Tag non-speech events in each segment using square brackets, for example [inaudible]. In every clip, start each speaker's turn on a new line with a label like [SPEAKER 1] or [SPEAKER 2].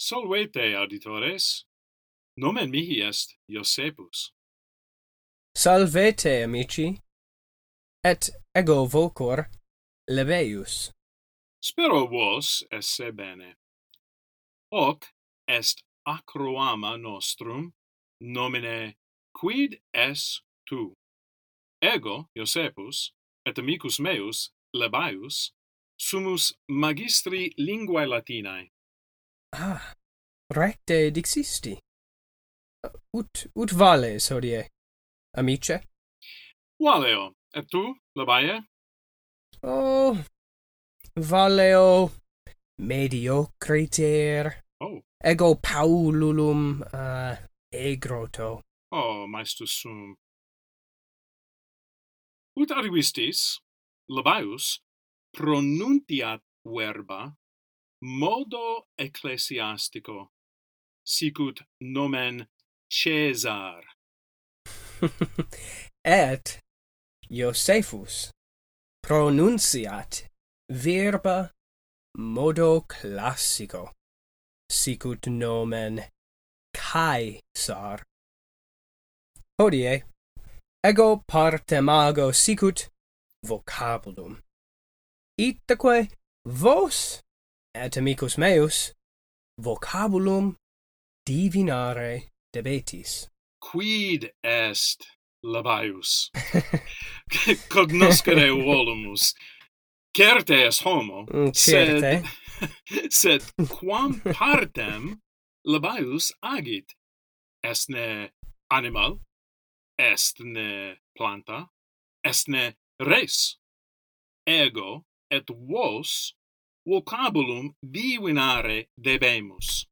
[SPEAKER 1] Solvete, auditores. Nomen mihi est Iosepus.
[SPEAKER 2] Salvete, amici, et ego vocor leveus.
[SPEAKER 1] Spero vos esse bene. Hoc est acroama nostrum nomine quid es tu. Ego, Iosepus, et amicus meus, Lebaius, sumus magistri linguae Latinae.
[SPEAKER 2] Ah, recte dixisti. Ut, ut vales hodie, amice?
[SPEAKER 1] Valeo, et tu, Lebae?
[SPEAKER 2] Oh, valeo mediocriter,
[SPEAKER 1] Oh,
[SPEAKER 2] ego paululum uh, egroto.
[SPEAKER 1] oh, maestus sum. Ut arrivistis, Lebaius, pronuntiat verba modo ecclesiastico, sicut nomen Caesar.
[SPEAKER 2] et Josephus pronunciat verba modo classico sicut nomen Caesar hodie ego partemago sicut vocabulum itaque vos et amicus meus vocabulum divinare debetis
[SPEAKER 1] quid est
[SPEAKER 2] [laughs]
[SPEAKER 1] labaius cognoscere volumus certe est homo
[SPEAKER 2] Mm, certe.
[SPEAKER 1] sed sed quam partem labaius agit est ne animal est ne planta est ne res ego et vos vocabulum divinare debemus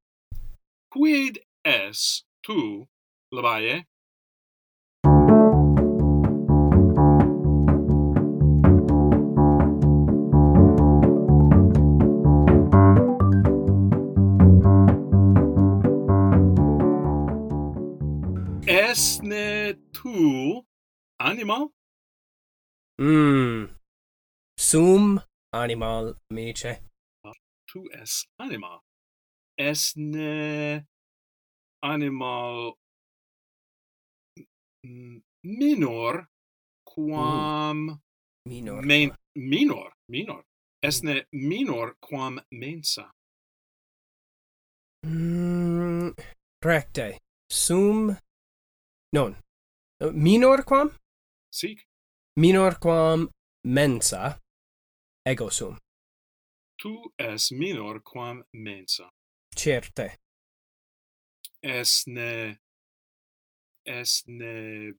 [SPEAKER 1] quid es tu labae esne tu animal
[SPEAKER 2] Mm. Sum animal amice.
[SPEAKER 1] tu es anima esne animal m- minor quam
[SPEAKER 2] Oh, Minor. Oh.
[SPEAKER 1] men, minor minor esne minor quam mensa
[SPEAKER 2] Mm, recte. Sum. Non. Uh, Minor quam?
[SPEAKER 1] sic
[SPEAKER 2] Minor quam mensa. Ego sum.
[SPEAKER 1] tu es minor quam mensa
[SPEAKER 2] Certe.
[SPEAKER 1] esne esne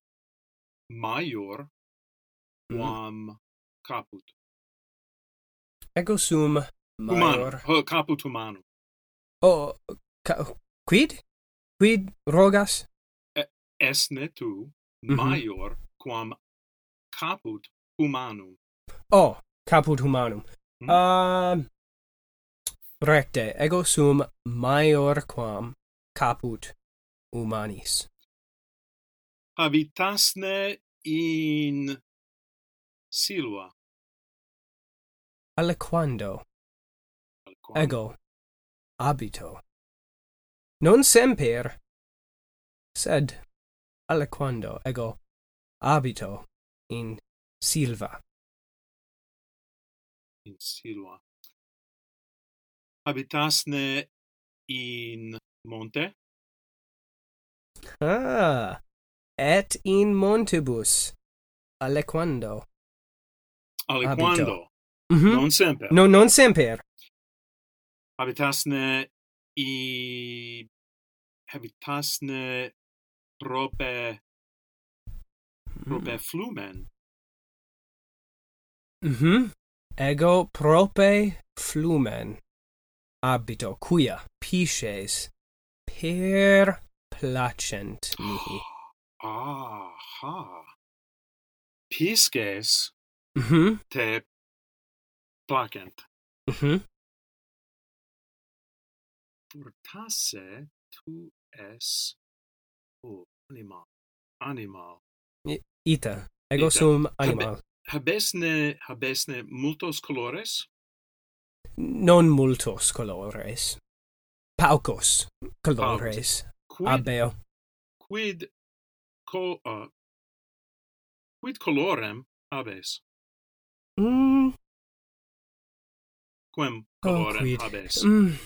[SPEAKER 1] maior
[SPEAKER 2] Mhm.
[SPEAKER 1] quam caput
[SPEAKER 2] Ego sum
[SPEAKER 1] Humanum,
[SPEAKER 2] maior.
[SPEAKER 1] H- caput humanum
[SPEAKER 2] Oh, ca- quid? Quid rogas?
[SPEAKER 1] esne tu
[SPEAKER 2] Mhm.
[SPEAKER 1] maior quam caput humanum.
[SPEAKER 2] Oh, caput humanum.
[SPEAKER 1] Mm.
[SPEAKER 2] Um, recte. Ego sum maior quam caput humanis.
[SPEAKER 1] Habitasne in silva.
[SPEAKER 2] aliquando
[SPEAKER 1] aliquam.
[SPEAKER 2] ego habito non semper sed aliquando ego habito in silva
[SPEAKER 1] In silva. Habitasne in monte.
[SPEAKER 2] ah et in montibus aliquando
[SPEAKER 1] Aliquando.
[SPEAKER 2] Mhm.
[SPEAKER 1] Non semper.
[SPEAKER 2] no non semper
[SPEAKER 1] Habitasne i... Habitasne prope...
[SPEAKER 2] Mm.
[SPEAKER 1] Prope flumen.
[SPEAKER 2] Mhm. ego prope flumen habito quia pisces per placent mihi
[SPEAKER 1] [gasps] Aha. Pisces
[SPEAKER 2] Mhm.
[SPEAKER 1] te placent.
[SPEAKER 2] Mhm.
[SPEAKER 1] Fortasse tu es o animal. Animal.
[SPEAKER 2] Ita. Ego
[SPEAKER 1] Ita.
[SPEAKER 2] sum animal.
[SPEAKER 1] Habesne habesne multos colores?
[SPEAKER 2] Non multos colores. Paucos. Colores.
[SPEAKER 1] Quid,
[SPEAKER 2] Abeo.
[SPEAKER 1] quid, col, uh, quid colorem habes?
[SPEAKER 2] Mm,
[SPEAKER 1] Quem
[SPEAKER 2] oh,
[SPEAKER 1] colorem
[SPEAKER 2] quid.
[SPEAKER 1] habes?
[SPEAKER 2] Mm,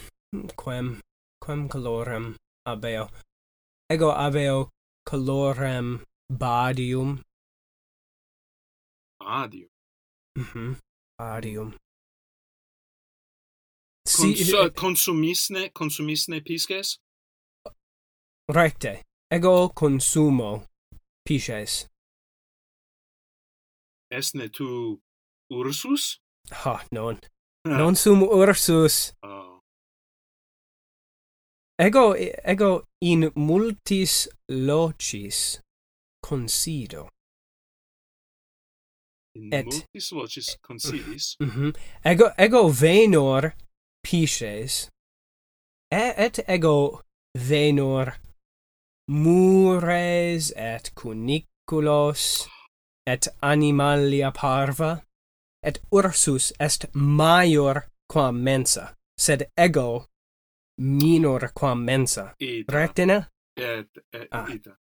[SPEAKER 2] quem. Quem colorem abeo. Ego abeo colorem badium.
[SPEAKER 1] Adium.
[SPEAKER 2] Mm-hmm. Badium. Si, eh,
[SPEAKER 1] Cons- uh, consumisne, consumisne pisces?
[SPEAKER 2] recte. Ego consumo. Pisces.
[SPEAKER 1] Esne tu Ursus?
[SPEAKER 2] Ha, non.
[SPEAKER 1] Ah,
[SPEAKER 2] Non sum ursus.
[SPEAKER 1] Oh,
[SPEAKER 2] Ego ego in multis locis consido.
[SPEAKER 1] in
[SPEAKER 2] Et-
[SPEAKER 1] multis vocis concilis.
[SPEAKER 2] [laughs] Mhm. Ego ego venor pisces. E, et ego venor mures et cuniculos et animalia parva et ursus est maior quam mensa sed ego minor quam mensa
[SPEAKER 1] Ita.
[SPEAKER 2] rectina
[SPEAKER 1] Et, et,
[SPEAKER 2] Ah.
[SPEAKER 1] ita.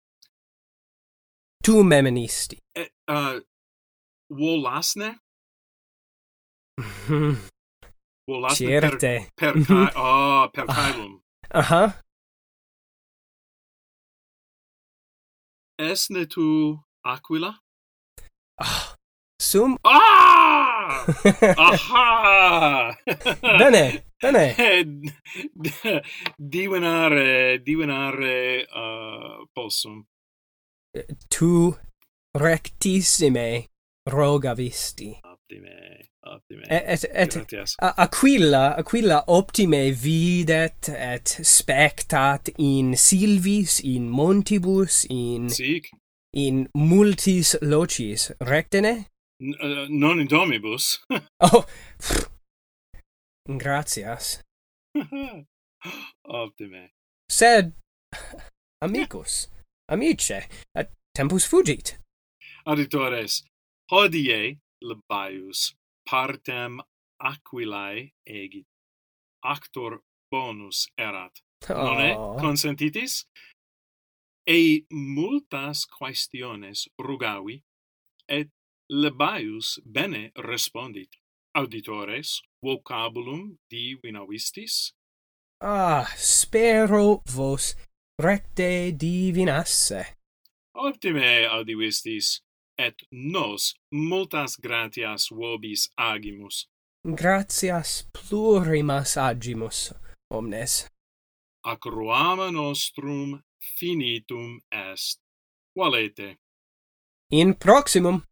[SPEAKER 2] tu memenisti
[SPEAKER 1] Et, uh, volasne?
[SPEAKER 2] Mhm.
[SPEAKER 1] Volasne per,
[SPEAKER 2] Certe. [laughs]
[SPEAKER 1] per,
[SPEAKER 2] Mhm.
[SPEAKER 1] ca- oh, per
[SPEAKER 2] Ah.
[SPEAKER 1] caelum.
[SPEAKER 2] Aha.
[SPEAKER 1] Esne tu Aquila?
[SPEAKER 2] Ah. Sum. [laughs]
[SPEAKER 1] Ah!
[SPEAKER 2] [laughs]
[SPEAKER 1] Aha! [laughs]
[SPEAKER 2] Bene, bene.
[SPEAKER 1] Eh, d- divenare, divenare uh, possum.
[SPEAKER 2] Tu rectissime rogavisti.
[SPEAKER 1] Ottime,
[SPEAKER 2] E-
[SPEAKER 1] ottime.
[SPEAKER 2] Et, et,
[SPEAKER 1] Gratias.
[SPEAKER 2] a- Aquila, Aquila optime videt et spectat in silvis, in montibus, in,
[SPEAKER 1] Sic,
[SPEAKER 2] in multis locis, rectene?
[SPEAKER 1] N- uh, non in domibus.
[SPEAKER 2] Oh, pff. gratias.
[SPEAKER 1] [laughs] Optime.
[SPEAKER 2] Sed, amicus, amice, at tempus fugit.
[SPEAKER 1] Auditores, hodie labaius partem aquilae egit. Actor bonus erat. Nonne
[SPEAKER 2] Oh.
[SPEAKER 1] consentitis? E multas quaestiones rugavi, et labaius bene respondit. Auditores, vocabulum divinavistis?
[SPEAKER 2] Ah, spero vos recte divinasse.
[SPEAKER 1] Optime audivistis, et nos multas gratias vobis agimus.
[SPEAKER 2] Gratias plurimas agimus omnes.
[SPEAKER 1] Acroama nostrum finitum est. Valete.
[SPEAKER 2] In proximum.